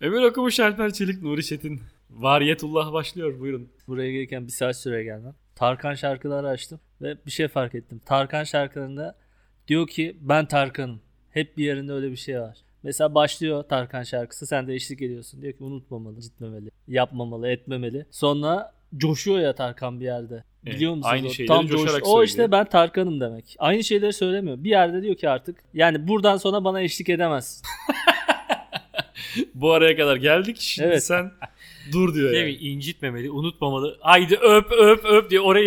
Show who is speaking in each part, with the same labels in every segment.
Speaker 1: Ömür Okumuş, Alper Çelik, Nuri Çetin. Variyetullah başlıyor buyurun.
Speaker 2: Buraya gelirken bir saat süre gelmem. Tarkan şarkıları açtım ve bir şey fark ettim. Tarkan şarkılarında diyor ki ben Tarkan'ım. Hep bir yerinde öyle bir şey var. Mesela başlıyor Tarkan şarkısı sen de eşlik ediyorsun. Diyor ki unutmamalı, gitmemeli, yapmamalı, etmemeli. Sonra coşuyor ya Tarkan bir yerde.
Speaker 1: Evet,
Speaker 2: Biliyor musunuz?
Speaker 1: aynı
Speaker 2: o?
Speaker 1: şeyleri
Speaker 2: Tam
Speaker 1: coşarak
Speaker 2: coş- O
Speaker 1: söylüyor.
Speaker 2: işte ben Tarkan'ım demek. Aynı şeyleri söylemiyor. Bir yerde diyor ki artık yani buradan sonra bana eşlik edemez.
Speaker 1: Bu araya kadar geldik. Şimdi
Speaker 2: Evet.
Speaker 1: sen dur diyor
Speaker 3: Değil mi?
Speaker 1: yani.
Speaker 3: İncitmemeli, unutmamalı. Haydi öp öp öp diye orayı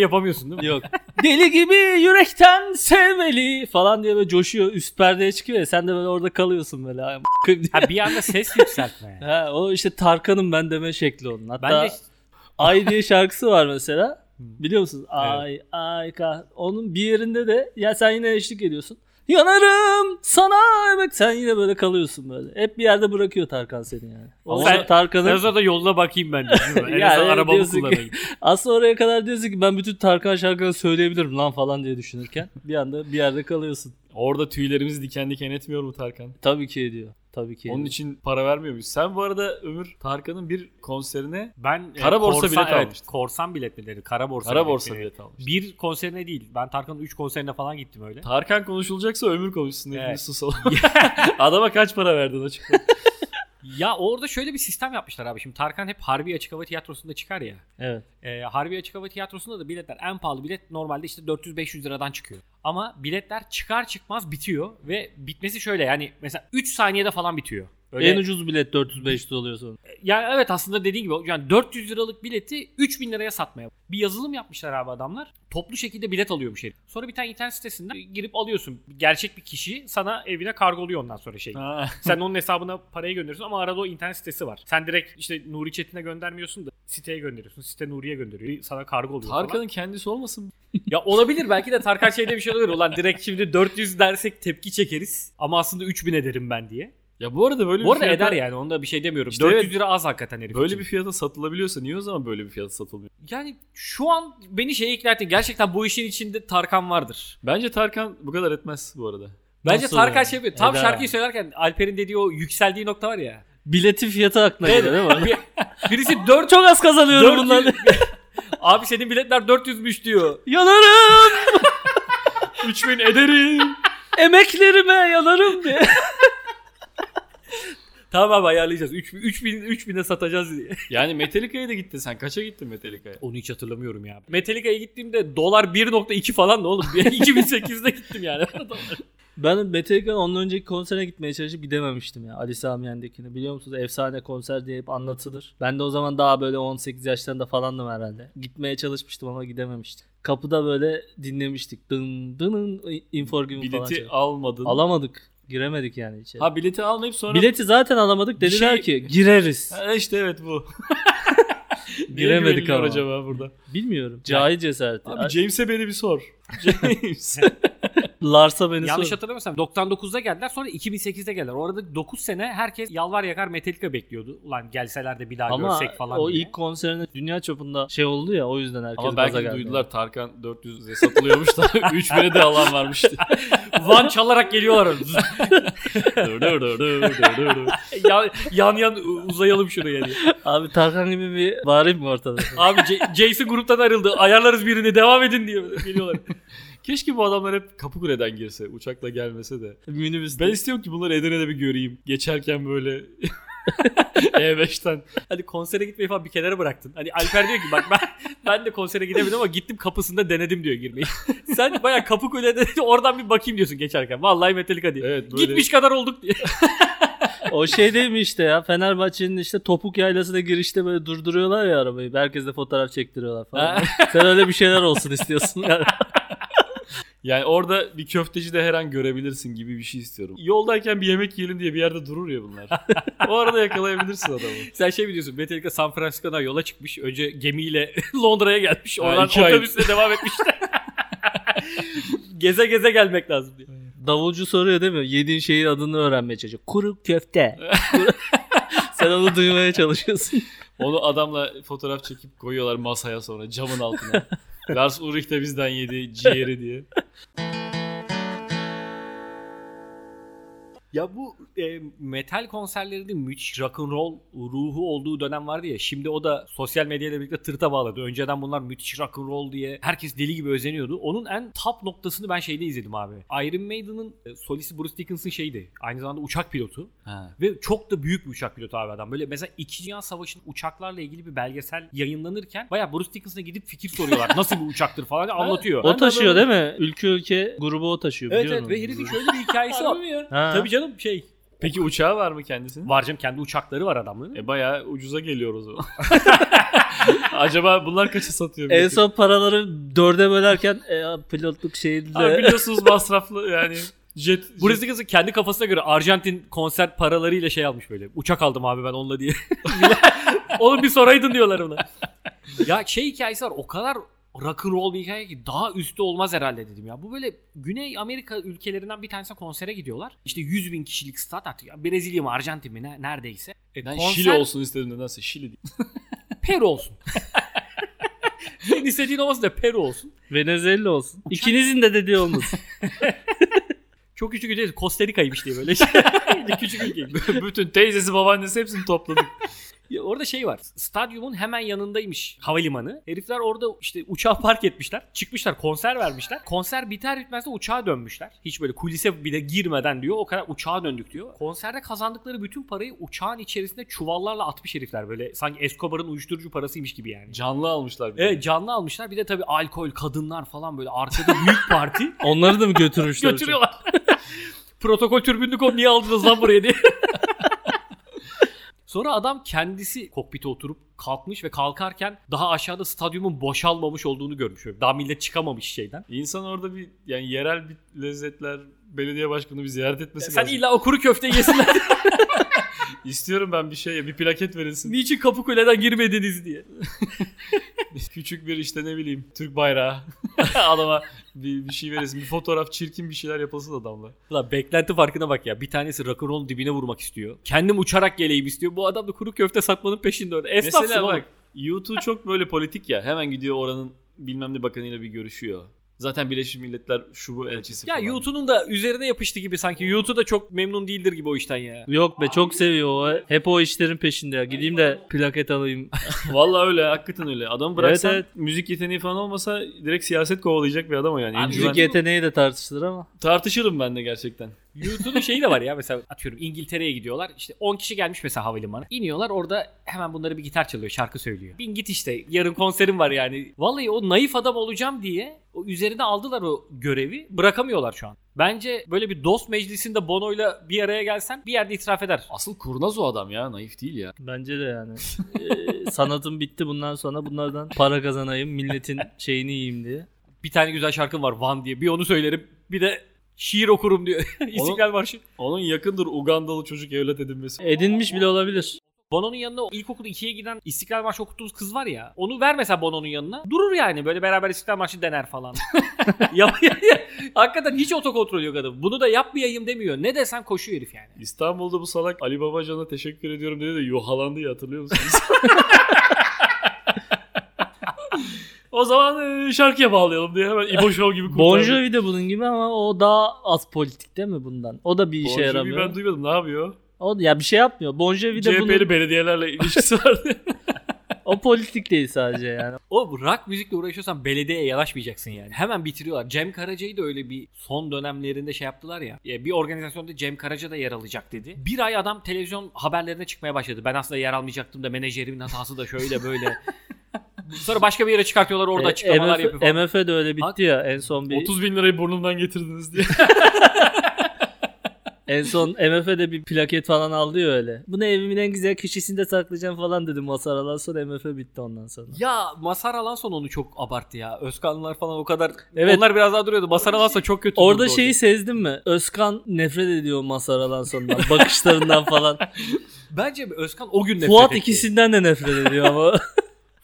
Speaker 3: yapamıyorsun değil mi?
Speaker 2: Yok. Deli gibi yürekten sevmeli falan diye böyle coşuyor. Üst perdeye çıkıyor ya sen de böyle orada kalıyorsun böyle. "Ay, m**kıyım" diye.
Speaker 3: Ha bir anda ses yükseltme.
Speaker 2: Ha, o işte Tarkan'ım ben deme şekli onun. Hatta
Speaker 3: ben de Hmm.
Speaker 2: Ay diye şarkısı var mesela. Biliyor musunuz? Ay ay kah. Onun bir yerinde de ya sen yine eşlik ediyorsun. Yanarım sana emek. Sen yine böyle kalıyorsun böyle. Hep bir yerde bırakıyor Tarkan seni yani. O
Speaker 3: Sen-
Speaker 2: Tarkan'ın
Speaker 3: biraz da yoluna bakayım ben. diyorsun, değil mi? En
Speaker 2: Yani
Speaker 3: azından arabamı
Speaker 2: diyorsun ki-
Speaker 3: kullanayım.
Speaker 2: aslında oraya kadar diyorsun ki ben bütün Tarkan şarkılarını söyleyebilirim lan falan diye düşünürken bir anda bir yerde kalıyorsun.
Speaker 1: Orada tüylerimizi diken diken etmiyor mu Tarkan?
Speaker 2: Tabii ki ediyor. Tabii ki.
Speaker 1: Onun
Speaker 2: ediyor.
Speaker 1: için para vermiyor muyuz? Sen bu arada Ömür Tarkan'ın bir konserine
Speaker 3: Ben e,
Speaker 1: Kara borsa bilet
Speaker 3: evet,
Speaker 1: almıştım.
Speaker 3: korsan bilet mi dedi? Kara borsa
Speaker 1: kara borsa
Speaker 3: biletleri.
Speaker 1: bilet almış.
Speaker 3: Bir konserine değil. Ben Tarkan'ın 3 konserine falan gittim öyle.
Speaker 1: Tarkan konuşulacaksa Ömür konuşsun. Hepimiz
Speaker 3: Evet.
Speaker 1: susalım. Adama kaç para verdin açıkla.
Speaker 3: Ya orada şöyle bir sistem yapmışlar abi. Şimdi Tarkan hep Harbi Açık Hava Tiyatrosu'nda çıkar ya.
Speaker 2: Evet.
Speaker 3: E, Harbi Açık Hava Tiyatrosu'nda da biletler en pahalı bilet normalde işte 400-500 liradan çıkıyor. Ama biletler çıkar çıkmaz bitiyor ve bitmesi şöyle yani mesela 3 saniyede falan bitiyor. Öyle,
Speaker 2: En ucuz bilet 400-500 oluyor sonra.
Speaker 3: yani evet aslında dediğin gibi yani 400 liralık bileti 3000 liraya satmaya. Bir yazılım yapmışlar abi adamlar. Toplu şekilde bilet alıyormuş herif. Sonra bir tane internet sitesinden girip alıyorsun. Gerçek bir kişi sana evine kargoluyor ondan sonra şey.
Speaker 1: Ha.
Speaker 3: Sen onun hesabına parayı gönderiyorsun ama arada o internet sitesi var. Sen direkt işte Nuri Çetin'e göndermiyorsun da siteye gönderiyorsun. Site Nuri'ye gönderiyor. Sana kargo oluyor falan.
Speaker 1: Tarkan'ın kendisi olmasın?
Speaker 3: Ya olabilir belki de Tarkan şeyde bir şey olur. Ulan direkt şimdi 400 dersek tepki çekeriz ama aslında 3000 ederim ben diye.
Speaker 1: Ya bu arada böyle
Speaker 3: Bu
Speaker 1: bir
Speaker 3: arada
Speaker 1: fiyata-
Speaker 3: eder yani onda bir şey demiyorum.
Speaker 1: İşte
Speaker 3: 400
Speaker 1: evet.
Speaker 3: lira az hakikaten herif
Speaker 1: Böyle
Speaker 3: için.
Speaker 1: bir fiyata satılabiliyorsa niye o zaman böyle bir fiyata satılmıyor?
Speaker 3: Yani şu an beni şeye ikna ettin. Gerçekten bu işin içinde Tarkan vardır.
Speaker 1: Bence Tarkan bu kadar etmez bu arada.
Speaker 3: Bence
Speaker 2: Nasıl
Speaker 3: Tarkan
Speaker 2: yani?
Speaker 3: şey yapıyor. Tam
Speaker 2: Eder.
Speaker 3: şarkıyı söylerken Alper'in dediği o yükseldiği nokta var ya.
Speaker 2: Biletin fiyatı aklına geliyor değil mi?
Speaker 3: Birisi 4
Speaker 2: Çok az kazanıyorum bundan.
Speaker 3: 400 Abi senin biletler 400'müş diyor.
Speaker 2: yanarım.
Speaker 1: 3000 ederim.
Speaker 2: Emeklerime yanarım diye.
Speaker 3: Tamam abi ayarlayacağız. 3000 3000 3000'e satacağız diye.
Speaker 1: Yani Metallica'ya da gitti sen. Kaça gittin Metallica'ya?
Speaker 3: Onu hiç hatırlamıyorum ya. Metallica'ya gittiğimde dolar 1.2 falan da oğlum. 2008'de gittim yani.
Speaker 2: Ben Metallica'nın ondan önceki konserine gitmeye çalışıp gidememiştim ya. Ali Sami Yen'dekini. Biliyor musunuz efsane konser diye hep anlatılır. Ben de o zaman daha böyle 18 yaşlarında falandım herhalde. Gitmeye çalışmıştım ama gidememiştim. Kapıda böyle dinlemiştik. Dın dının infor gibi falan.
Speaker 3: şey.
Speaker 1: Bileti
Speaker 2: çalıyor.
Speaker 1: almadın.
Speaker 2: Alamadık. Giremedik yani içeri.
Speaker 1: ha bileti almayıp sonra...
Speaker 2: Bileti zaten alamadık.
Speaker 1: Bir
Speaker 2: Dediler
Speaker 1: şey-
Speaker 2: ki gireriz.
Speaker 1: Ha, işte evet bu. Niye
Speaker 2: Giremedik
Speaker 1: güveniliyor
Speaker 2: ama.
Speaker 1: acaba burada?
Speaker 2: Bilmiyorum. Cahil cesareti.
Speaker 1: Abi James'e beni bir sor. James.
Speaker 2: Larsa beni
Speaker 3: Yanlış
Speaker 2: sor.
Speaker 3: hatırlamıyorsam 99'da geldiler sonra 2008'de geldiler. Orada 9 sene herkes yalvar yakar Metallica bekliyordu. Ulan gelseler de bir daha
Speaker 2: Ama
Speaker 3: görsek falan
Speaker 2: o
Speaker 3: diye.
Speaker 2: ilk konserinde dünya çapında şey oldu ya o yüzden herkes
Speaker 1: Ama
Speaker 2: gaza
Speaker 1: belki
Speaker 2: geldi.
Speaker 1: duydular Tarkan 400'e satılıyormuş da 3000'e de alan varmış. diye.
Speaker 3: Van çalarak geliyorlar.
Speaker 1: Dur, dur, dur, dur, dur, dur.
Speaker 3: yan, yan yan uzayalım şuraya diye.
Speaker 2: Abi Tarkan gibi bir bağırayım mı ortada?
Speaker 3: Abi J- Jason gruptan ayrıldı. Ayarlarız birini devam edin diye geliyorlar.
Speaker 1: Keşke bu adamlar hep Kapıkule'den girse, uçakla gelmese de.
Speaker 2: Minibüs.
Speaker 1: Ben istiyorum ki bunları Edirne'de bir göreyim. Geçerken böyle E E5'ten.
Speaker 3: Hani konsere gitmeyi falan bir kenara bıraktın. Hani Alper diyor ki bak ben ben de konsere gidemedim ama gittim kapısında denedim diyor girmeyi. Sen baya kapı kulede oradan bir bakayım diyorsun geçerken. Vallahi Metallica diye.
Speaker 1: Evet böyle.
Speaker 3: Gitmiş kadar olduk diye.
Speaker 2: O şey değil mi işte ya Fenerbahçe'nin işte topuk yaylasına girişte böyle durduruyorlar ya arabayı. Herkes de fotoğraf çektiriyorlar falan. Sen öyle bir şeyler olsun istiyorsun. Yani.
Speaker 1: Yani orada bir köfteci de her an görebilirsin gibi bir şey istiyorum. Yoldayken bir yemek yiyelim diye bir yerde durur ya bunlar. o arada yakalayabilirsin adamı.
Speaker 3: Sen şey biliyorsun Metallica San Francisco'dan yola çıkmış. Önce gemiyle Londra'ya gelmiş.
Speaker 1: Ha,
Speaker 3: Oradan
Speaker 1: iki ay.
Speaker 3: otobüsle devam etmişler. geze geze gelmek lazım diye.
Speaker 2: Davulcu soruyor değil mi? Yediğin şeyin adını öğrenmeye çalışıyor. Kuru köfte. Kuru- Sen onu duymaya çalışıyorsun.
Speaker 1: Onu adamla fotoğraf çekip koyuyorlar masaya sonra camın altına. Lars Ulrich de bizden yedi ciğeri diye.
Speaker 3: Ya bu e, metal konserlerinde müthiş rock'n'roll ruhu olduğu dönem vardı ya. Şimdi o da sosyal medyayla birlikte tırta bağladı. Önceden bunlar müthiş rock'n'roll diye herkes deli gibi özeniyordu. Onun en top noktasını ben şeyde izledim abi. Iron Maiden'ın e, solisti Bruce Dickinson şeydi. Aynı zamanda uçak pilotu.
Speaker 1: Ha.
Speaker 3: Ve çok da büyük bir uçak pilotu abi adam. Böyle mesela 2. Dünya Savaşı'nın uçaklarla ilgili bir belgesel yayınlanırken bayağı Bruce Dickinson'a gidip fikir soruyorlar. Nasıl bir uçaktır falan diye anlatıyor.
Speaker 2: O
Speaker 1: Ben de
Speaker 2: taşıyor
Speaker 1: böyle-
Speaker 2: değil mi? Ülke ülke grubu o taşıyor
Speaker 3: Evet
Speaker 2: biliyor
Speaker 3: evet ve herifin
Speaker 2: musun?
Speaker 3: şöyle bir hikayesi var.
Speaker 2: Ha.
Speaker 3: Tabii canım şey
Speaker 1: Peki uçağı var mı kendisinin?
Speaker 3: Var canım kendi uçakları var adamların.
Speaker 1: E bayağı ucuza geliyor o zaman. Acaba bunlar kaça satıyor?
Speaker 2: En
Speaker 1: bileti?
Speaker 2: son paraları dörde bölerken e, pilotluk
Speaker 1: Abi
Speaker 2: şeyinde
Speaker 1: biliyorsunuz masraflı yani jet.
Speaker 3: Burası kızı kendi kafasına göre Arjantin konser paralarıyla şey almış böyle. Uçak aldım abi ben onunla diye. Oğlum bir soraydın diyorlar ona. ya şey hikayesi var o kadar rock'n'roll bir hikaye ki daha üstü olmaz herhalde dedim ya. Bu böyle Güney Amerika ülkelerinden bir tanesine konsere gidiyorlar. İşte 100 bin kişilik stat artık. Ya Brezilya mı Arjantin mi ne- neredeyse. E,
Speaker 1: Ben
Speaker 3: konser
Speaker 1: Şili olsun istedim nedense Şili değil.
Speaker 3: Peru olsun. Senin istediğin olmasın da Peru olsun.
Speaker 2: Venezuela olsun. İkinizin de dediği olmasın.
Speaker 3: Çok küçük ülke Costa Rica'ymış diye böyle. küçük ülkeymiş.
Speaker 1: Bütün teyzesi babaannesi hepsini topladık.
Speaker 3: Ya orada şey var. Stadyumun hemen yanındaymış havalimanı. Herifler orada işte uçağı park etmişler. Çıkmışlar konser vermişler. Konser biter bitmez de uçağa dönmüşler. Hiç böyle kulise bile girmeden diyor. O kadar uçağa döndük diyor. Konserde kazandıkları bütün parayı uçağın içerisinde çuvallarla atmış herifler. Böyle sanki Escobar'ın uyuşturucu parasıymış gibi yani.
Speaker 1: Canlı almışlar. bir de.
Speaker 3: Evet canlı almışlar. Bir de tabii alkol, kadınlar falan böyle arkada büyük parti.
Speaker 2: Onları da mı götürmüşler?
Speaker 3: Götürüyorlar. Protokol türbünlük o niye aldınız lan buraya diye. Sonra adam kendisi kokpite oturup kalkmış ve kalkarken daha aşağıda stadyumun boşalmamış olduğunu görmüş. Böyle Daha millet çıkamamış şeyden.
Speaker 1: İnsan orada bir yani yerel bir lezzetler belediye başkanı bir ziyaret etmesi
Speaker 3: Sen
Speaker 1: lazım.
Speaker 3: illa o kuru köfte yesinler.
Speaker 1: İstiyorum ben bir şey bir plaket verilsin.
Speaker 3: Niçin Kapıkule'den girmediniz diye.
Speaker 1: Küçük bir işte ne bileyim Türk bayrağı adama bir, bir şey verilsin. Bir fotoğraf çirkin bir şeyler yapılsın adamla.
Speaker 3: Ulan beklenti farkına bak ya. Bir tanesi rock'n'roll dibine vurmak istiyor. Kendim uçarak geleyim istiyor. Bu adam da kuru köfte satmanın peşinde öyle. Esnafsın
Speaker 1: Mesela
Speaker 3: oğlum.
Speaker 1: bak YouTube çok böyle politik ya. Hemen gidiyor oranın bilmem ne bakanıyla bir görüşüyor. Zaten Birleşmiş Milletler şu bu elçisi
Speaker 3: Ya
Speaker 1: falan.
Speaker 3: YouTube'un da üzerine yapıştı gibi sanki. YouTube da çok memnun değildir gibi o işten ya.
Speaker 2: Yok be çok seviyor o. Hep o işlerin peşinde ya. Gideyim de plaket alayım.
Speaker 1: Vallahi öyle hakikaten öyle. Adam bıraksan
Speaker 2: Evet,
Speaker 1: müzik yeteneği falan olmasa direkt siyaset kovalayacak bir adam o yani. En
Speaker 3: Abi,
Speaker 1: güven-
Speaker 2: Müzik yeteneği de tartışılır ama.
Speaker 1: Tartışırım ben de gerçekten.
Speaker 3: YouTube'un şeyi de var ya mesela atıyorum İngiltere'ye gidiyorlar. İşte 10 kişi gelmiş mesela havalimanı. İniyorlar orada hemen bunları bir gitar çalıyor, şarkı söylüyor. Bin git işte yarın konserim var yani. Vallahi o naif adam olacağım diye o üzerine aldılar o görevi. Bırakamıyorlar şu an. Bence böyle bir dost meclisinde Bono'yla bir araya gelsen bir yerde itiraf eder.
Speaker 1: Asıl kurnaz o adam ya naif değil ya.
Speaker 2: Bence de yani. Ee, sanatım bitti bundan sonra bunlardan para kazanayım. Milletin şeyini yiyeyim diye.
Speaker 3: Bir tane güzel şarkım var Van diye. Bir onu söylerim. Bir de şiir okurum diyor. İstiklal Marşı.
Speaker 1: Onun yakındır Ugandalı çocuk evlat edinmesi.
Speaker 2: Edinmiş bile olabilir.
Speaker 3: Bono'nun yanına o ilkokul 2'ye giden İstiklal Marşı okuttuğumuz kız var ya. Onu ver mesela Bono'nun yanına. Durur yani böyle beraber İstiklal Marşı dener falan. ya, ya, ya. Hakikaten hiç otokontrol yok adam. Bunu da yapmayayım demiyor. Ne desem koşuyor herif yani.
Speaker 1: İstanbul'da bu salak Ali Babacan'a teşekkür ediyorum dedi de yuhalandı ya hatırlıyor musunuz? o zaman e, şarkıya bağlayalım diye hemen İbo Show gibi kurtardı.
Speaker 2: Bon Jovi de bunun gibi ama o daha az politik değil mi bundan? O da bir
Speaker 1: Bon
Speaker 2: işe
Speaker 1: Jovi'yi
Speaker 2: yaramıyor.
Speaker 1: ben duymadım ne yapıyor?
Speaker 2: O da- ya bir şey yapmıyor. Bon Jovi de
Speaker 1: CHP'li
Speaker 2: bunun,
Speaker 1: belediyelerle ilişkisi vardı.
Speaker 2: o politik değil sadece yani.
Speaker 3: O rock müzikle uğraşıyorsan belediyeye yanaşmayacaksın yani. Hemen bitiriyorlar. Cem Karaca'yı da öyle bir son dönemlerinde şey yaptılar ya. Ya Bir organizasyonda Cem Karaca da yer alacak dedi. Bir ay adam televizyon haberlerine çıkmaya başladı. Ben aslında yer almayacaktım da menajerimin hatası da şööyle böyle. Sonra başka bir yere çıkartıyorlar orada
Speaker 2: E,
Speaker 3: açıklamalar
Speaker 2: MF
Speaker 3: yapıyor falan.
Speaker 2: MF de öyle bitti ya en son bir
Speaker 1: 30 bin lirayı burnumdan getirdiniz diye.
Speaker 2: en son MF'de bir plaket falan aldı ya öyle. Bunu evimin en güzel köşesinde saklayacağım falan dedim Masaralar sonra MF bitti ondan sonra.
Speaker 3: Ya Masar Alanson onu çok abarttı ya. Özkanlar falan o kadar.
Speaker 2: Evet.
Speaker 3: Onlar biraz daha duruyordu. Masar Alanson çok kötü.
Speaker 2: Orada şey-
Speaker 3: durdu
Speaker 2: şeyi sezdin mi? Özkan nefret ediyor Masaralar sonundan. Bakışlarından falan.
Speaker 3: Bence Özkan o gün nefret
Speaker 2: Fuat
Speaker 3: etti.
Speaker 2: ikisinden de nefret ediyor ama.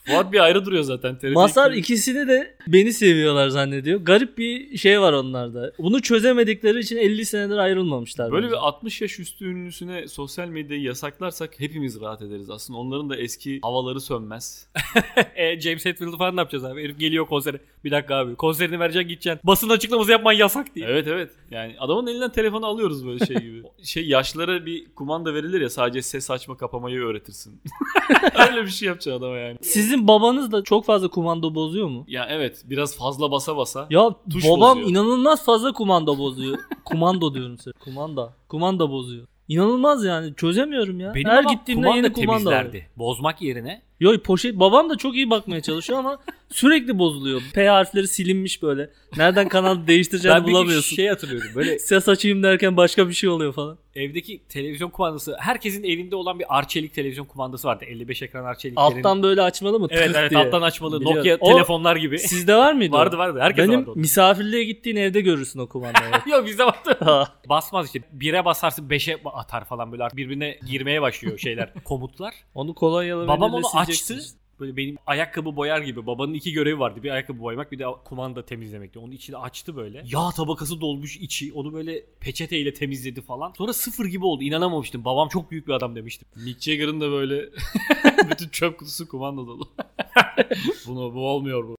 Speaker 1: Fuat bir ayrı duruyor zaten. TRT
Speaker 2: Masar
Speaker 1: iki-
Speaker 2: ikisini de beni seviyorlar zannediyor. Garip bir şey var onlarda. Bunu çözemedikleri için 50 senedir ayrılmamışlar.
Speaker 1: Böyle
Speaker 2: bence.
Speaker 1: bir 60 yaş üstü ünlüsüne sosyal medyayı yasaklarsak hepimiz rahat ederiz. Aslında onların da eski havaları sönmez.
Speaker 3: e, James Hetfield'ı falan ne yapacağız abi? Herif geliyor konsere. Bir dakika abi. Konserini vereceksin gideceksin. Basın açıklaması yapman yasak diye.
Speaker 1: evet evet. Yani adamın elinden telefonu alıyoruz böyle şey gibi. şey yaşlara bir kumanda verilir ya sadece ses açma kapamayı öğretirsin. Öyle bir şey yapacak adama yani.
Speaker 2: Sizin babanız da çok fazla kumanda bozuyor mu?
Speaker 1: Ya evet biraz fazla basa basa.
Speaker 2: Ya
Speaker 1: Tuş
Speaker 2: babam
Speaker 1: bozuyor.
Speaker 2: inanılmaz fazla kumanda bozuyor. kumando diyorum size. Kumanda. Kumanda bozuyor. İnanılmaz yani çözemiyorum ya. Her
Speaker 3: babam
Speaker 2: gittiğimde yeni kumanda alıyor.
Speaker 3: Bozmak yerine.
Speaker 2: Yo poşet babam da çok iyi bakmaya çalışıyor ama sürekli bozuluyor. P harfleri silinmiş böyle. Nereden kanal değiştireceğini
Speaker 3: Ben bir
Speaker 2: bulamıyorsun.
Speaker 3: şey hatırlıyorum. Böyle
Speaker 2: Ses açayım derken başka bir şey oluyor falan.
Speaker 3: evdeki televizyon kumandası. Herkesin elinde olan bir arçelik televizyon kumandası vardı. 55 ekran arçeliklerin.
Speaker 2: Alttan böyle açmalı mı?
Speaker 3: Evet
Speaker 2: Tık
Speaker 3: evet
Speaker 2: diye.
Speaker 3: alttan açmalı.
Speaker 2: Biliyorum.
Speaker 3: Nokia
Speaker 2: O-
Speaker 3: telefonlar gibi.
Speaker 2: Sizde var mıydı? o?
Speaker 3: vardı vardı. Herkes
Speaker 2: Benim
Speaker 3: vardı. onda.
Speaker 2: misafirliğe gittiğin evde görürsün o kumandayı.
Speaker 3: Yok bizde vardı. Basmaz işte. Bire basarsın beşe atar falan böyle artık birbirine girmeye başlıyor şeyler. Komutlar.
Speaker 2: onu kolonyalı
Speaker 3: Babam
Speaker 2: mendille
Speaker 3: onu
Speaker 2: sileceksin
Speaker 3: açtı.
Speaker 2: işte.
Speaker 3: Böyle benim ayakkabı boyar gibi. Babanın iki görevi vardı. Bir ayakkabı boyamak bir de kumanda temizlemekti. Onun içini açtı böyle. Yağ tabakası dolmuş içi. Onu böyle peçeteyle temizledi falan. Sonra sıfır gibi oldu. İnanamamıştım. Babam çok büyük bir adam demiştim.
Speaker 1: Mick Jagger'ın da böyle bütün çöp kutusu kumanda dolu. Bunu bu olmuyor bu.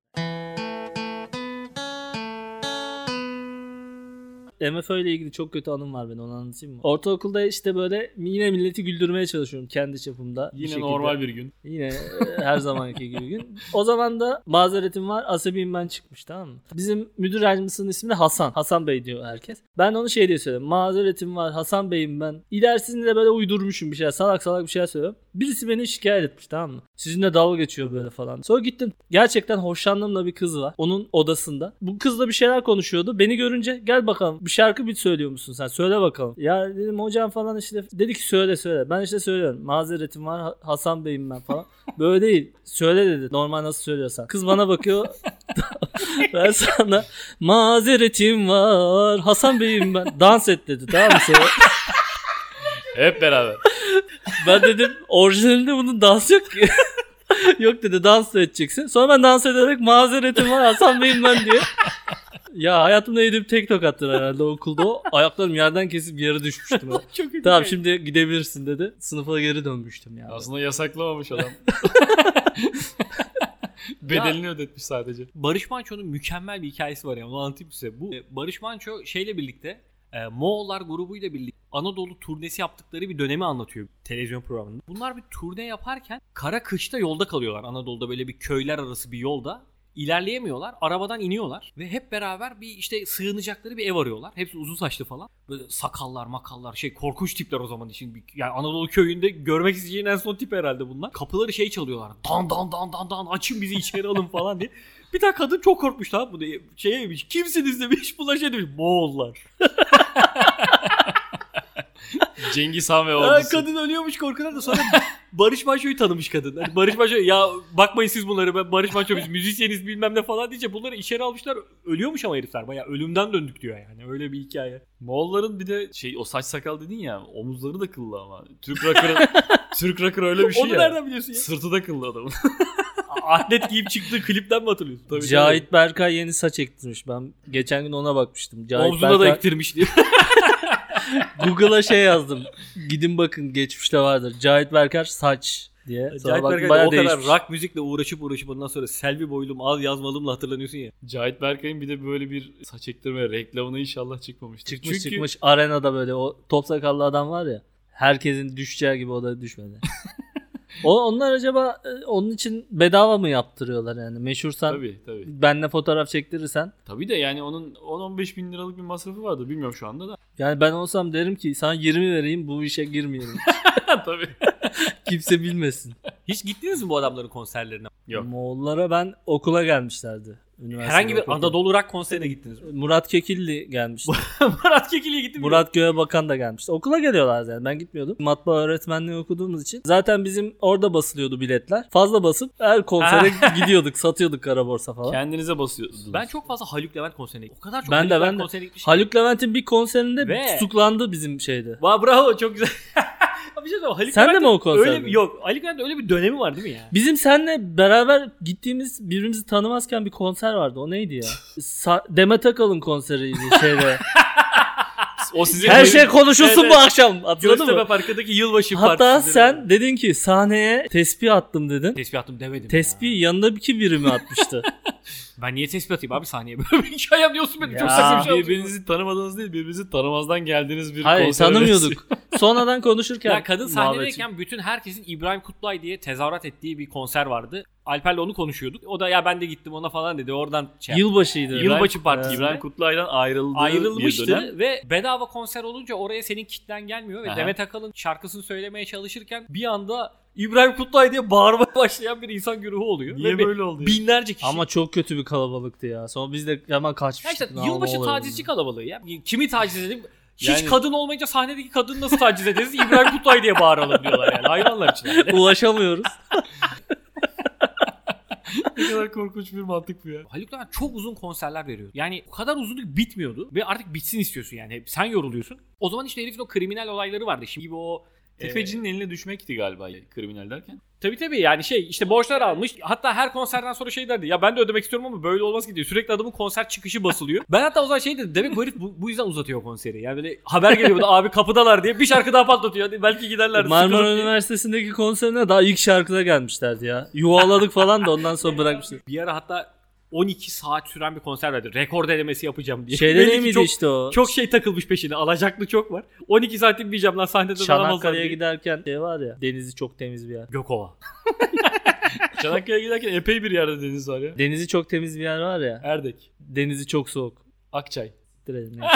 Speaker 2: MFÖ ile ilgili çok kötü anım var benim onu anlatayım mı? Ortaokulda işte böyle yine milleti güldürmeye çalışıyorum kendi çapımda. bir
Speaker 1: Yine
Speaker 2: şekilde.
Speaker 1: normal bir gün.
Speaker 2: Yine e, her zamanki gibi gün. O zaman da mazeretim var asabiyim ben çıkmış tamam mı? Bizim müdür yardımcısının ismi de Hasan. Hasan Bey diyor herkes. Ben onu şey diye söyledim. Mazeretim var Hasan Bey'im ben. İlerisinde de böyle uydurmuşum bir şeyler. Salak salak bir şeyler söylüyorum. Birisi beni şikayet etmiş tamam mı? Sizinle dalga geçiyor böyle falan. Sonra gittim. Gerçekten hoşlandığımla bir kız var. Onun odasında. Bu kızla bir şeyler konuşuyordu. Beni görünce gel bakalım bir şarkı bir söylüyor musun sen? Söyle bakalım. Ya dedim hocam falan işte. Dedi ki söyle söyle. Ben işte söylüyorum. Mazeretim var Ha- Hasan Bey'im ben falan. Böyle değil. Söyle dedi. Normal nasıl söylüyorsan. Kız bana bakıyor. ben sana mazeretim var. Hasan Bey'im ben. Dans et dedi. Tamam mı? Sonra
Speaker 1: Hep beraber.
Speaker 2: ben dedim orijinalinde bunun dans yok ki. yok dedi dans da edeceksin. Sonra ben dans ederek mazeretim var Hasan Bey'im ben diye. Ya hayatımda yediğim tek tokattır herhalde okulda o. Ayaklarım yerden kesip yere düşmüştüm. ben.
Speaker 3: Çok iyi.
Speaker 2: tamam şimdi gidebilirsin dedi. Sınıfa geri dönmüştüm ya.
Speaker 1: Aslında yasaklamamış adam. Bedelini ödetmiş sadece.
Speaker 3: Barış Manço'nun mükemmel bir hikayesi var ya onu anlatayım size. Bu e, Barış Manço şeyle birlikte e, Moğollar grubuyla birlikte Anadolu turnesi yaptıkları bir dönemi anlatıyor televizyon programında. Bunlar bir turne yaparken kara kışta yolda kalıyorlar. Anadolu'da böyle bir köyler arası bir yolda. İlerleyemiyorlar. Arabadan iniyorlar ve hep beraber bir işte sığınacakları bir ev arıyorlar. Hepsi uzun saçlı falan. Böyle sakallar, makallar, şey korkunç tipler o zaman için. Bir- Yani Anadolu köyünde görmek isteyeceğin en son tip herhalde bunlar. Kapıları şey çalıyorlar. Dan dan dan dan dan açın bizi içeri alın falan diye. Bir tane kadın çok korkmuş lan bunu. Şey demiş. Kimsiniz demiş. Bunlar şey demiş. Moğollar.
Speaker 1: Cengiz Han ve
Speaker 3: Ha,
Speaker 1: ordusu.
Speaker 3: kadın ölüyormuş korkudan da sonra Barış Manço'yu tanımış kadın. Hani Barış Manço ya bakmayın siz bunları ben Barış Manço biz müzisyeniz bilmem ne falan diyece bunları içeri almışlar. Ölüyormuş ama herifler bayağı ölümden döndük diyor yani öyle bir hikaye.
Speaker 1: Moğolların bir de şey o saç sakal dedin ya omuzları da kıllı ama. Türk rocker Türk rocker öyle bir şey
Speaker 3: Onu
Speaker 1: ya.
Speaker 3: nereden biliyorsun ya?
Speaker 1: Sırtı da kıllı adamın.
Speaker 3: Atlet giyip çıktığı klipten mi hatırlıyorsun? Tabii
Speaker 2: Cahit Berkay yeni saç ektirmiş. Ben geçen gün ona bakmıştım.
Speaker 3: tabii.
Speaker 2: Cahit
Speaker 3: Omzuna da
Speaker 2: Berkay-
Speaker 3: ektirmiş diyor.
Speaker 2: Google'a şey yazdım. Gidin bakın geçmişte vardır. Cahit Berkay saç diye. Sonra
Speaker 3: Cahit
Speaker 2: baktım,
Speaker 3: Berkay da
Speaker 2: bayağı
Speaker 3: o kadar
Speaker 2: değişmiş.
Speaker 3: rock müzikle uğraşıp uğraşıp ondan sonra Selvi boylum al yazmalımla hatırlanıyorsun ya.
Speaker 1: Cahit Berkay'ın bir de böyle bir saç ektirme reklamına inşallah çıkmamıştır.
Speaker 2: Çıkmış çıkmış arenada böyle o top sakallı adam var ya. Herkesin düşeceği gibi o da düşmedi. o, onlar acaba e, onun için bedava mı yaptırıyorlar yani? Meşhursan
Speaker 1: Tabii tabii.
Speaker 2: benle fotoğraf çektirirsen.
Speaker 1: Tabii de yani onun 10-15 bin liralık bir masrafı vardı bilmiyorum şu anda da.
Speaker 2: Yani ben olsam derim ki sana 20 vereyim bu işe girmeyelim.
Speaker 1: tabii.
Speaker 2: Kimse bilmesin.
Speaker 3: Hiç gittiniz mi bu adamların konserlerine?
Speaker 1: Yok.
Speaker 2: Moğollara ben okula gelmişlerdi. üniversitede
Speaker 3: Herhangi bir
Speaker 2: okurken.
Speaker 3: Anadolu rock konserine gittiniz mi?
Speaker 2: Murat Kekilli gelmişti.
Speaker 3: Murat Kekili'ye gittim.
Speaker 2: Murat Göğebakan da gelmişti. Okula geliyorlardı yani ben gitmiyordum. Matbaa öğretmenliği okuduğumuz için. Zaten bizim orada basılıyordu biletler. Fazla basıp her konsere gidiyorduk satıyorduk kara borsa falan.
Speaker 1: Kendinize basıyordunuz.
Speaker 3: Ben çok fazla Haluk Levent konserine gittim. O kadar çok
Speaker 2: Ben
Speaker 3: Haluk
Speaker 2: de,
Speaker 3: Levent
Speaker 2: ben de.
Speaker 3: konserine gitmişim.
Speaker 2: Haluk Levent'in bir konserinde
Speaker 3: şey- Ve-
Speaker 2: tutuklandı bizim şeyde.
Speaker 3: Va bravo çok güzel. bir şey söyleyeyim. Haluk
Speaker 2: Sen de
Speaker 3: Levent'in
Speaker 2: mi o konserde?
Speaker 3: öyle bir- Yok. Ali Levent'in öyle bir dönemi var değil mi ya?
Speaker 2: Bizim seninle beraber gittiğimiz birbirimizi tanımazken bir konser vardı. O neydi ya? Sa- Demet Akalın konseriydi şeyde.
Speaker 1: O sizin
Speaker 2: Her şey konuşulsun
Speaker 3: Evet,
Speaker 2: bu
Speaker 3: evet.
Speaker 2: akşam. Hatırladın
Speaker 3: Göztepe
Speaker 2: mı?
Speaker 3: Parkı'ndaki yılbaşı
Speaker 2: Hatta
Speaker 3: partisi.
Speaker 2: sen dedin ki sahneye tespih attım dedin.
Speaker 3: Tespih attım demedim. ya.
Speaker 2: Tespih yanında iki birimi atmıştı.
Speaker 3: Ben niye tespih atayım abi sahneye? Böyle bir hikayem diyorsun benim. Çok
Speaker 2: Ya.
Speaker 3: saçma bir şey oldu.
Speaker 1: birbirinizi tanımadığınız değil, birbirinizi tanımazdan geldiğiniz bir
Speaker 2: Hayır
Speaker 1: konser
Speaker 2: tanımıyorduk. Sonradan konuşurken
Speaker 3: Ya kadın
Speaker 2: muhabbeti.
Speaker 3: sahnedeyken bütün herkesin İbrahim Kutlay diye tezahürat ettiği bir konser vardı. Alper'le onu konuşuyorduk. O da ya ben de gittim ona falan dedi. Oradan şey
Speaker 2: Yılbaşıydı.
Speaker 1: resmi.
Speaker 3: Yılbaşı
Speaker 1: İbrahim-
Speaker 3: partisi.
Speaker 1: İbrahim Kutluay'dan ayrıldığı bir dönem.
Speaker 3: ayrılmıştı ve bedava konser olunca oraya senin kitlen gelmiyor ve
Speaker 1: Aha.
Speaker 3: Demet Akalın şarkısını söylemeye çalışırken bir anda İbrahim Kutlay diye bağırmaya başlayan bir insan güruhu oluyor.
Speaker 1: Niye
Speaker 3: ve
Speaker 1: böyle oldu? ya?
Speaker 3: binlerce kişi.
Speaker 2: Ama çok kötü bir kalabalıktı ya. Sonra biz de hemen
Speaker 3: Ya
Speaker 2: kaçmıştık.
Speaker 3: işte
Speaker 2: Ne
Speaker 3: yılbaşı
Speaker 2: olabilir?
Speaker 3: tacizci kalabalığı ya. Kimi taciz edelim? Hiç
Speaker 1: Yani-
Speaker 3: kadın olmayınca sahnedeki kadını nasıl taciz ederiz? İbrahim Kutlay diye bağıralım diyorlar yani. Hayranlar için.
Speaker 2: Ulaşamıyoruz.
Speaker 1: ne kadar korkunç bir mantık bu ya.
Speaker 3: Haluk Levent çok uzun konserler veriyordu. Yani o kadar uzundu ki bitmiyordu. Ve artık bitsin istiyorsun yani. Hep sen yoruluyorsun. O zaman işte herifin o kriminal olayları vardı. Şimdi gibi o
Speaker 1: Tefecinin eline düşmekti galiba kriminal derken.
Speaker 3: Tabii tabii yani şey işte borçlar almış. Hatta her konserden sonra şey derdi. Ya ben de ödemek istiyorum ama böyle olmaz ki diyor. Sürekli adamın konser çıkışı basılıyor. ben hatta o zaman şey dedim. Demek bu herif bu, bu yüzden uzatıyor konseri. Yani böyle haber geliyor. da, Abi kapıdalar diye bir şarkı daha patlatıyor. Hadi belki giderler.
Speaker 2: E, Marmara
Speaker 3: sıkılır diye.
Speaker 2: Üniversitesi'ndeki konserine daha ilk şarkıda gelmişlerdi ya. Yuvaladık falan da ondan sonra bırakmışlar.
Speaker 3: Bir ara hatta 12 saat süren bir konser verdi. Rekor denemesi yapacağım diye.
Speaker 2: Şeyde
Speaker 3: Belli
Speaker 2: ne
Speaker 3: ki
Speaker 2: miydi
Speaker 3: çok,
Speaker 2: işte o?
Speaker 3: çok şey takılmış peşine. Alacaklı çok var. 12 saat dinmeyeceğim lan sahnede dayanamazlar
Speaker 2: Çanakkale'ye
Speaker 3: diye.
Speaker 2: giderken şey var ya denizi çok temiz bir yer.
Speaker 3: Gökova.
Speaker 1: Çanakkale'ye giderken epey bir yerde deniz var ya.
Speaker 2: Denizi çok temiz bir yer var ya.
Speaker 1: Erdek,
Speaker 2: Denizi çok soğuk.
Speaker 1: Akçay.
Speaker 2: Direlim.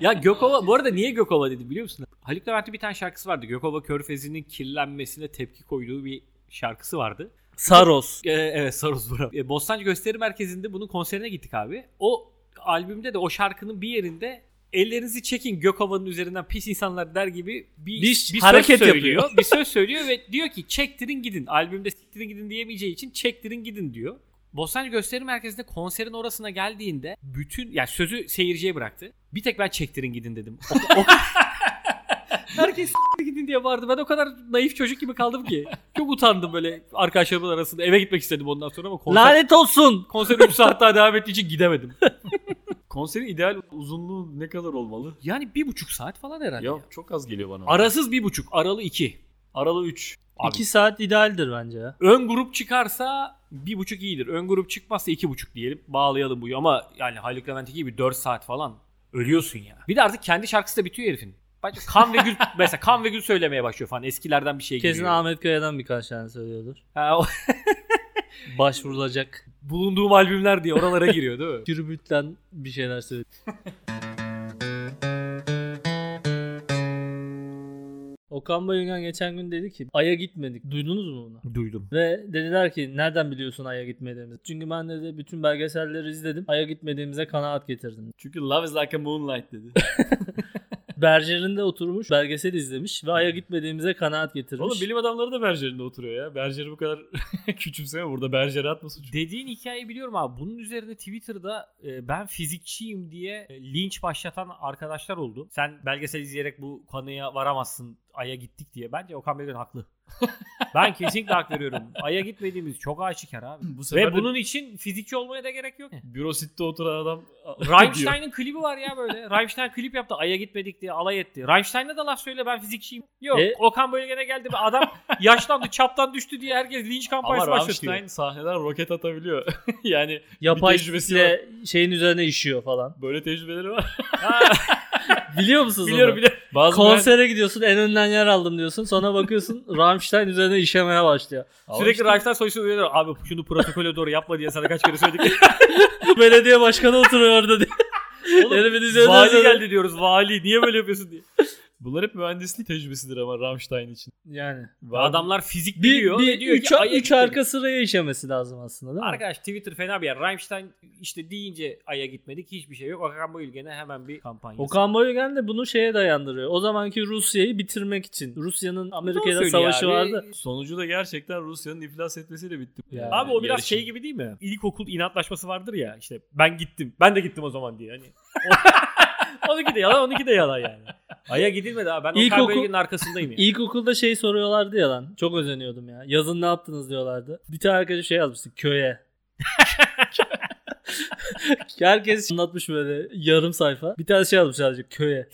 Speaker 3: Ya Gökova bu arada niye Gökova dedi biliyor musun? Haluk Levent'in bir tane şarkısı vardı. Gökova Körfezi'nin kirlenmesine tepki koyduğu bir şarkısı vardı.
Speaker 2: Saros.
Speaker 3: Ee, evet Sarus Burak. Ee, Bostancı Gösteri Merkezi'nde bunun konserine gittik abi. O albümde de o şarkının bir yerinde ellerinizi çekin Gökova'nın üzerinden pis insanlar der gibi bir,
Speaker 2: Bir
Speaker 3: söz
Speaker 2: hareket
Speaker 3: söylüyor.
Speaker 2: yapıyor.
Speaker 3: bir söz söylüyor ve diyor ki çektirin gidin. Albümde siktirin gidin diyemeyeceği için çektirin gidin diyor. Bostancı Gösteri Merkezi'nde konserin orasına geldiğinde bütün yani sözü seyirciye bıraktı. Bir tek ben çektirin gidin dedim. O- o- Herkes "S**tirin gidin diye vardı. Ben o kadar naif çocuk gibi kaldım ki. Çok utandım böyle arkadaşlarımın arasında. Eve gitmek istedim ondan sonra ama konser,
Speaker 2: Lanet olsun.
Speaker 3: konser 3 saat daha devam ettiği için gidemedim.
Speaker 1: Konserin ideal uzunluğu ne kadar olmalı?
Speaker 3: Yani bir buçuk saat falan herhalde.
Speaker 1: Ya çok az geliyor bana.
Speaker 3: Arasız bir buçuk. Aralı iki.
Speaker 1: Aralı 3.
Speaker 3: Abi.
Speaker 2: 2 saat idealdir bence ya.
Speaker 3: Ön grup çıkarsa bir buçuk iyidir. Ön grup çıkmazsa iki buçuk diyelim. Bağlayalım bu. Ama yani Haluk Levent gibi 4 saat falan ölüyorsun ya. Bir de artık kendi şarkısı da bitiyor herifin. Bence kan ve gül mesela kan ve gül söylemeye başlıyor falan. Eskilerden bir şey
Speaker 2: Kesin
Speaker 3: geliyor.
Speaker 2: Ahmet Kaya'dan birkaç tane söylüyordur.
Speaker 3: Ha, o-
Speaker 2: Başvurulacak.
Speaker 3: bulunduğum albümler diye oralara giriyor değil mi?
Speaker 2: Tribütten bir şeyler söylüyor. Okan Bayülgen geçen gün dedi ki Ay'a gitmedik. Duydunuz mu bunu?
Speaker 3: Duydum.
Speaker 2: Ve dediler ki nereden biliyorsun Ay'a gitmediğimizi? Çünkü ben dedi bütün belgeselleri izledim. Ay'a gitmediğimize kanaat getirdim.
Speaker 1: Çünkü Love is like a moonlight dedi.
Speaker 2: Berger'in de oturmuş belgesel izlemiş ve Ay'a gitmediğimize kanaat getirmiş.
Speaker 1: Oğlum bilim adamları da Berger'inde oturuyor ya. Berger'i bu kadar küçümseme burada Berger'e atma suçu.
Speaker 3: Dediğin hikayeyi biliyorum abi. Bunun üzerine Twitter'da e, ben fizikçiyim diye e, linç başlatan arkadaşlar oldu. Sen belgesel izleyerek bu konuya varamazsın. Ay'a gittik diye. Bence Okan Bey'den haklı. ben kesinlikle hak veriyorum. Ay'a gitmediğimiz çok aşikar abi.
Speaker 1: Bu sefer
Speaker 3: Ve
Speaker 1: de
Speaker 3: bunun için fizikçi olmaya da gerek yok.
Speaker 1: bürositte oturan adam diyor.
Speaker 3: Rammstein'in klibi var ya böyle. Rammstein klip yaptı. Ay'a gitmedik diye alay etti. Rammstein'e de laf söyle ben fizikçiyim. Yok
Speaker 2: E?
Speaker 3: Okan Bölgen'e geldi. Adam yaşlandı çaptan düştü diye herkes linç
Speaker 1: Ama
Speaker 3: kampanyası başlatıyor.
Speaker 1: Rammstein sahneden roket atabiliyor. yani
Speaker 2: Yapay
Speaker 1: bir tecrübesi
Speaker 2: kitle şeyin üzerine işiyor falan.
Speaker 1: böyle tecrübeleri var.
Speaker 2: Biliyor musunuz
Speaker 3: Biliyorum
Speaker 2: onu?
Speaker 3: biliyorum.
Speaker 1: Bazı
Speaker 2: Konsere gidiyorsun en önden yer aldım diyorsun. Sonra bakıyorsun Rammstein üzerine işemeye başlıyor.
Speaker 1: Ama
Speaker 3: Sürekli
Speaker 1: işte-
Speaker 3: Rammstein soyusu uyarıyor. Abi şunu protokole doğru yapma diye sana kaç kere söyledik.
Speaker 2: Belediye başkanı oturuyor orada diye. Herifin üzerine
Speaker 3: vali
Speaker 2: üzerine-
Speaker 3: geldi diyoruz. Vali niye böyle yapıyorsun diye.
Speaker 1: Bunlar hep mühendislik tecrübesidir ama Rammstein için.
Speaker 2: Yani.
Speaker 3: Adamlar fizik
Speaker 2: Bir,
Speaker 3: biliyor.
Speaker 2: bir
Speaker 3: ve diyor
Speaker 2: üç,
Speaker 3: ki, "Ay'a
Speaker 2: üç
Speaker 3: gitmedik."
Speaker 2: arka sıraya işemesi lazım aslında değil mi?
Speaker 3: Arkadaş Twitter fena bir yer. Rammstein işte deyince Ay'a gitmedik. Hiçbir şey yok. Okan Bayülgen'e hemen bir kampanya.
Speaker 2: Okan Bayülgen de bunu şeye dayandırıyor. O zamanki Rusya'yı bitirmek için. Rusya'nın Amerika'da
Speaker 3: söylüyor
Speaker 2: savaşı
Speaker 3: abi.
Speaker 2: vardı.
Speaker 1: Sonucu da gerçekten Rusya'nın iflas etmesiyle bitti.
Speaker 2: Ya.
Speaker 3: Abi o biraz
Speaker 1: Yarışın.
Speaker 3: şey gibi değil mi? İlkokul inatlaşması vardır ya işte ben gittim. Ben de gittim o zaman diye. Hani 12 de yalan 12 de yalan yani. Ay'a gidilmedi abi. Ben
Speaker 2: İlk
Speaker 3: İlk
Speaker 2: oku-
Speaker 3: Okan Bölge'nin arkasındayım yani.
Speaker 2: İlkokulda şey soruyorlardı ya lan. Çok özeniyordum ya. Yazın ne yaptınız diyorlardı. Bir tane arkadaşım şey yazmıştı. Köye. Herkes anlatmış böyle yarım sayfa. Bir tane şey yazmış sadece köye.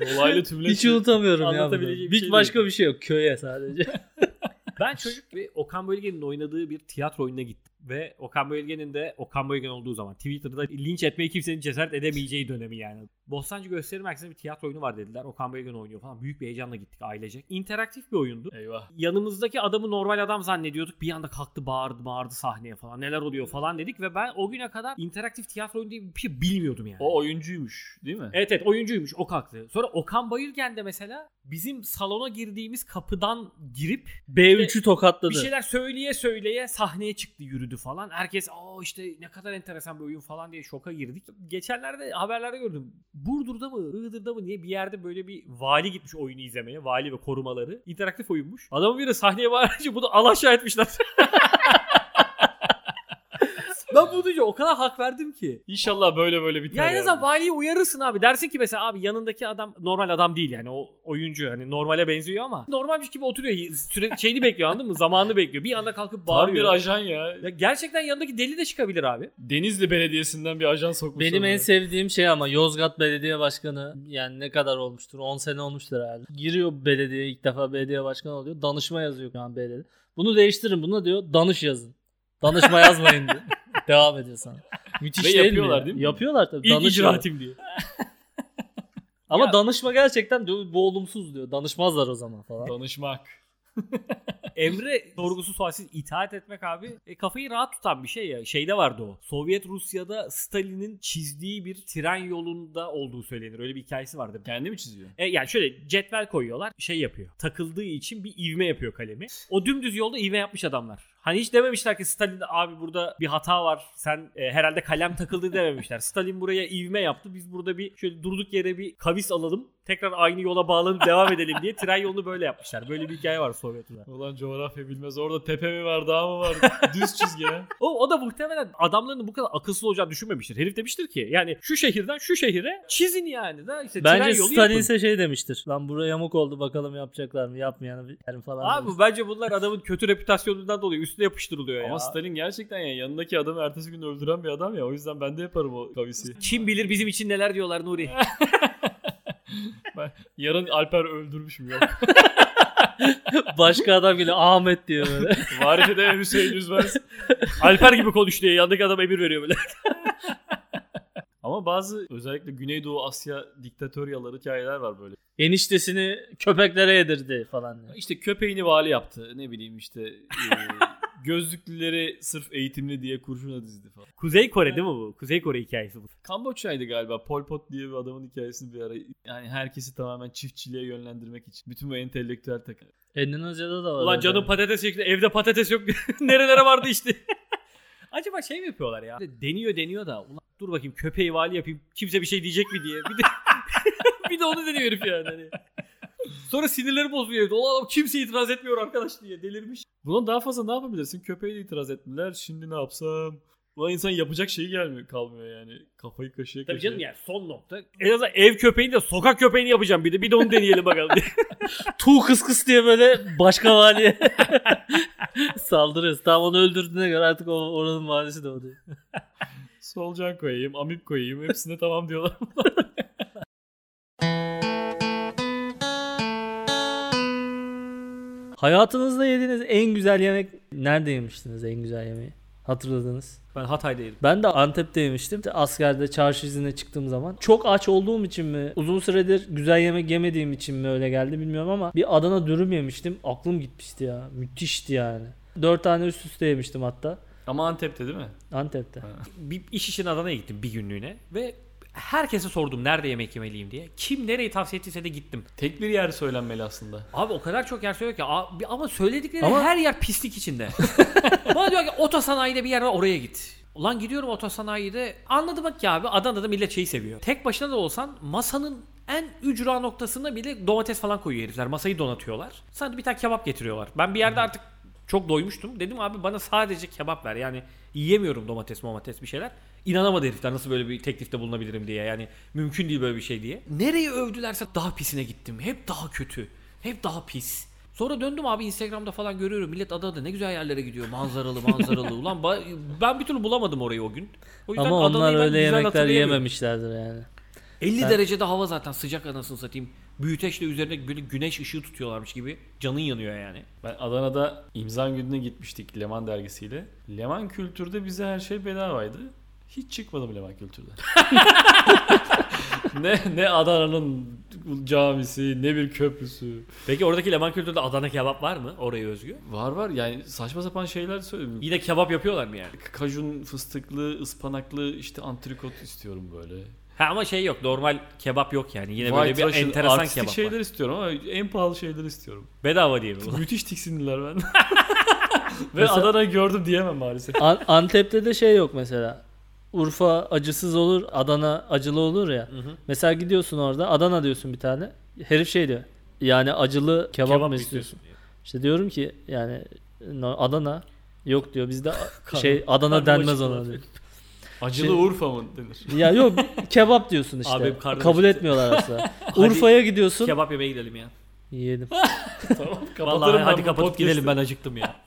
Speaker 1: Dolaylı tümleç.
Speaker 2: Hiç unutamıyorum ya. bunu.
Speaker 3: Anlatabileceğim bir
Speaker 2: Hiç
Speaker 3: şey
Speaker 2: başka bir şey yok. Köye sadece.
Speaker 3: Ben çocuk ve Okan Bölge'nin oynadığı bir tiyatro oyununa gittim. Ve Okan Bölge'nin de Okan Bölgen olduğu zaman Twitter'da linç etmeyi kimsenin cesaret edemeyeceği dönemi yani. Bostancı Gösteri Merkezi'nde bir tiyatro oyunu var dediler. Okan Bölgen oynuyor falan. Büyük bir heyecanla gittik ailecek. İnteraktif bir oyundu.
Speaker 1: Eyvah.
Speaker 3: Yanımızdaki adamı normal adam zannediyorduk. Bir anda kalktı bağırdı bağırdı sahneye falan. Neler oluyor falan dedik. Ve ben o güne kadar interaktif tiyatro oyunu diye bir şey bilmiyordum yani.
Speaker 1: O oyuncuymuş değil mi?
Speaker 3: Evet evet oyuncuymuş o kalktı. Sonra Okan Bayülgen de mesela bizim salona girdiğimiz kapıdan girip
Speaker 2: B3'ü tokatladı.
Speaker 3: bir şeyler söyleye söyleye sahneye çıktı yürüdü falan. Herkes aa işte ne kadar enteresan bir oyun falan diye şoka girdik. Geçenlerde haberlerde gördüm. Burdur'da mı Iğdır'da mı diye bir yerde böyle bir vali gitmiş oyunu izlemeye. Vali ve korumaları. interaktif oyunmuş. Adamın biri sahneye bağırınca bunu alaşağı etmişler. ben bunu duyunca o kadar hak verdim ki.
Speaker 1: İnşallah böyle böyle biter.
Speaker 3: Ya en
Speaker 1: Yani
Speaker 3: azından valiyi uyarırsın abi. Dersin ki mesela abi yanındaki adam normal adam değil yani o oyuncu hani normale benziyor ama normalmiş gibi oturuyor. Süre, şeyini bekliyor anladın mı? Zamanını bekliyor. Bir anda kalkıp
Speaker 1: Tam bir
Speaker 3: bağırıyor.
Speaker 1: ajan ya.
Speaker 3: Ya gerçekten yanındaki deli de çıkabilir abi.
Speaker 1: Denizli Belediyesi'nden bir ajan sokmuş.
Speaker 2: Benim en
Speaker 1: oraya.
Speaker 2: sevdiğim şey ama Yozgat Belediye Başkanı yani ne kadar olmuştur? 10 sene olmuştur herhalde. Giriyor belediyeye ilk defa belediye başkanı oluyor. Danışma yazıyor şu an belediye. Bunu değiştirin buna diyor danış yazın. Danışma yazmayın diyor. Devam ediyor sana. Müthiş
Speaker 1: Ve
Speaker 2: değil mi
Speaker 1: yapıyorlar
Speaker 2: ya?
Speaker 1: değil mi?
Speaker 2: Yapıyorlar tabii.
Speaker 3: İlk
Speaker 2: Danış yazın.
Speaker 3: icraatim diye.
Speaker 2: Ama
Speaker 3: Ya-
Speaker 2: danışma gerçekten diyor, bu olumsuz diyor. Danışmazlar o zaman falan.
Speaker 1: Danışmak.
Speaker 3: Emre sorgusu sualsiz itaat etmek abi e, kafayı rahat tutan bir şey ya. Şeyde vardı o. Sovyet Rusya'da Stalin'in çizdiği bir tren yolunda olduğu söylenir. Öyle bir hikayesi vardı.
Speaker 1: Kendi mi çiziyor?
Speaker 3: E, yani şöyle cetvel koyuyorlar şey yapıyor. Takıldığı için bir ivme yapıyor kalemi. O dümdüz yolda ivme yapmış adamlar. Hani hiç dememişler ki Stalin abi burada bir hata var. Sen e, herhalde kalem takıldı dememişler. Stalin buraya ivme yaptı. Biz burada bir şöyle durduk yere bir kavis alalım. Tekrar aynı yola bağlanıp devam edelim diye tren yolunu böyle yapmışlar. Böyle bir hikaye var Sovyetler.
Speaker 1: Ulan coğrafya bilmez. Orada tepe mi var dağ mı var? Düz çizgi ya.
Speaker 3: O, o da muhtemelen adamların bu kadar akılsız olacağını düşünmemiştir. Herif demiştir ki yani şu şehirden şu şehire çizin yani. Da işte tren
Speaker 2: Bence
Speaker 3: yolu
Speaker 2: Stalin
Speaker 3: yapın.
Speaker 2: ise şey demiştir. Lan buraya yamuk oldu bakalım yapacaklar mı yapmayanı bir- falan.
Speaker 3: Abi
Speaker 2: demiş.
Speaker 3: bence bunlar adamın kötü reputasyonundan dolayı üstüne yapıştırılıyor ya.
Speaker 1: Ama Stalin gerçekten ya yanındaki adamı ertesi gün öldüren bir adam ya. O yüzden ben de yaparım o kavisi.
Speaker 3: Kim bilir bizim için neler diyorlar Nuri.
Speaker 1: Yarın Alper öldürmüşüm yok.
Speaker 2: Başka adam geliyor Ahmet diyor böyle.
Speaker 1: Varif'e de Hüseyin Üzmez.
Speaker 3: Alper gibi konuş diye yandaki adam emir veriyor böyle.
Speaker 1: Ama bazı özellikle Güneydoğu Asya diktatöryaları hikayeler var böyle.
Speaker 2: Eniştesini köpeklere yedirdi falan. diyor.
Speaker 1: İşte köpeğini vali yaptı. Ne bileyim işte e, gözlüklüleri sırf eğitimli diye kurşuna dizdi falan.
Speaker 3: Kuzey Kore değil mi bu? Kuzey Kore hikayesi bu.
Speaker 1: Kamboçya'ydı galiba. Pol Pot diye bir adamın hikayesini bir ara yani herkesi tamamen çiftçiliğe yönlendirmek için. Bütün bu entelektüel takım.
Speaker 2: Endonezya'da da var.
Speaker 3: Ulan
Speaker 2: öyle.
Speaker 3: canım patates yok. Evde patates yok. Nerelere vardı işte. Acaba şey mi yapıyorlar ya? Deniyor deniyor da. Ulan dur bakayım köpeği vali yapayım. Kimse bir şey diyecek mi diye. Bir de, bir de onu deniyor herif yani. Hani. Sonra sinirleri bozuluyor evde. Ulan adam kimse itiraz etmiyor arkadaş diye delirmiş.
Speaker 1: Buna daha fazla ne yapabilirsin? Köpeğe de itiraz ettiler. Şimdi ne yapsam? Ulan insan yapacak şey gelmiyor kalmıyor yani. Kafayı kaşıya
Speaker 3: Tabii
Speaker 1: kaşıya.
Speaker 3: canım yani son nokta. En azından ev köpeğini de sokak köpeğini yapacağım bir de. Bir de onu deneyelim bakalım diye.
Speaker 2: Tu kıs kıs diye böyle başka valiye saldırıyoruz. Tam onu öldürdüğüne göre artık o, oranın valisi de o diyor.
Speaker 1: Solcan koyayım, amip koyayım. Hepsine tamam diyorlar.
Speaker 2: Hayatınızda yediğiniz en güzel yemek nerede yemiştiniz en güzel yemeği? Hatırladınız.
Speaker 3: Ben Hatay'da yedim.
Speaker 2: Ben de Antep'te yemiştim. İşte Askerde çarşı izine çıktığım zaman. Çok aç olduğum için mi? Uzun süredir güzel yemek yemediğim için mi öyle geldi bilmiyorum ama bir Adana dürüm yemiştim. Aklım gitmişti ya. Müthişti yani. 4 tane üst üste yemiştim hatta.
Speaker 1: Ama Antep'te değil mi?
Speaker 2: Antep'te.
Speaker 3: bir iş için Adana'ya gittim bir günlüğüne ve herkese sordum nerede yemek yemeliyim diye. Kim nereyi tavsiye ettiyse de gittim.
Speaker 1: Tek bir yer söylenmeli aslında.
Speaker 3: Abi o kadar çok yer söylüyor ki abi, ama söyledikleri
Speaker 2: Ama-
Speaker 3: her yer pislik içinde. Bana diyor ki otosanayide bir yer var oraya git. Ulan gidiyorum otosanayide anladım bak ya abi Adana'da millet şeyi seviyor. Tek başına da olsan masanın en ücra noktasına bile domates falan koyuyor herifler. Masayı donatıyorlar. Sana bir tane kebap getiriyorlar. Ben bir yerde artık çok doymuştum. Dedim abi bana sadece kebap ver. Yani yiyemiyorum domates, domates bir şeyler. İnanamadı herifler nasıl böyle bir teklifte bulunabilirim diye. Yani mümkün değil böyle bir şey diye. Nereye övdülerse daha pisine gittim. Hep daha kötü. Hep daha pis. Sonra döndüm abi Instagram'da falan görüyorum millet ada ada ne güzel yerlere gidiyor manzaralı manzaralı. Ulan ba- ben bir türlü bulamadım orayı o gün. O yüzden
Speaker 2: Ama onlar
Speaker 3: Adana'yı ben
Speaker 2: öyle
Speaker 3: güzel
Speaker 2: yemekler
Speaker 3: hatırlayamıyorum.
Speaker 2: yememişlerdir yani.
Speaker 3: 50
Speaker 2: Ben-
Speaker 3: derecede hava zaten sıcak anasını satayım. Büyüteçle üzerine böyle güneş ışığı tutuyorlarmış gibi canın yanıyor yani.
Speaker 1: Ben Adana'da imza gününe gitmiştik Leman dergisiyle. Leman kültürde bize her şey bedavaydı. Hiç çıkmadım Leman kültürde. ne ne Adana'nın camisi ne bir köprüsü.
Speaker 3: Peki oradaki Leman kültürde Adana kebap var mı oraya özgü?
Speaker 1: Var var yani saçma sapan şeyler söylüyorum.
Speaker 3: Yine kebap yapıyorlar mı yani?
Speaker 1: Kajun fıstıklı, ıspanaklı işte antrikot istiyorum böyle.
Speaker 3: Ha ama şey yok normal kebap yok yani. Yine
Speaker 1: White
Speaker 3: böyle bir
Speaker 1: Russian
Speaker 3: enteresan
Speaker 1: artistik
Speaker 3: kebap
Speaker 1: şeyler
Speaker 3: var.
Speaker 1: istiyorum ama en pahalı şeyler istiyorum.
Speaker 3: Bedava diye mi? bu?
Speaker 1: Müthiş tiksindiler ben. Ve
Speaker 2: Mesela-
Speaker 1: Adana gördüm diyemem maalesef.
Speaker 2: An- Antep'te de şey yok mesela. Urfa acısız olur, Adana acılı olur ya.
Speaker 3: hı.
Speaker 2: Mesela gidiyorsun orada, Adana diyorsun bir tane. Herif şey diyor. Yani acılı kebap,
Speaker 3: Kebap
Speaker 2: mı istiyorsun? İşte diyorum ki yani no- Adana yok diyor. Bizde a- şey Adana
Speaker 3: karnım
Speaker 2: denmez
Speaker 3: acıktı
Speaker 2: ona
Speaker 3: lan.
Speaker 2: diyor.
Speaker 1: Acılı
Speaker 2: Şey-
Speaker 1: Urfa mı denir?
Speaker 2: Ya yok kebap diyorsun işte.
Speaker 3: Abi karnım
Speaker 2: Kabul
Speaker 3: acıktı.
Speaker 2: etmiyorlar asla. Urfa'ya gidiyorsun.
Speaker 3: Kebap yemeye gidelim ya.
Speaker 2: Yiyelim.
Speaker 1: tamam
Speaker 3: Vallahi
Speaker 1: ben
Speaker 3: hadi
Speaker 1: bu
Speaker 3: kapatıp
Speaker 1: podcast'i.
Speaker 3: gidelim ben acıktım ya.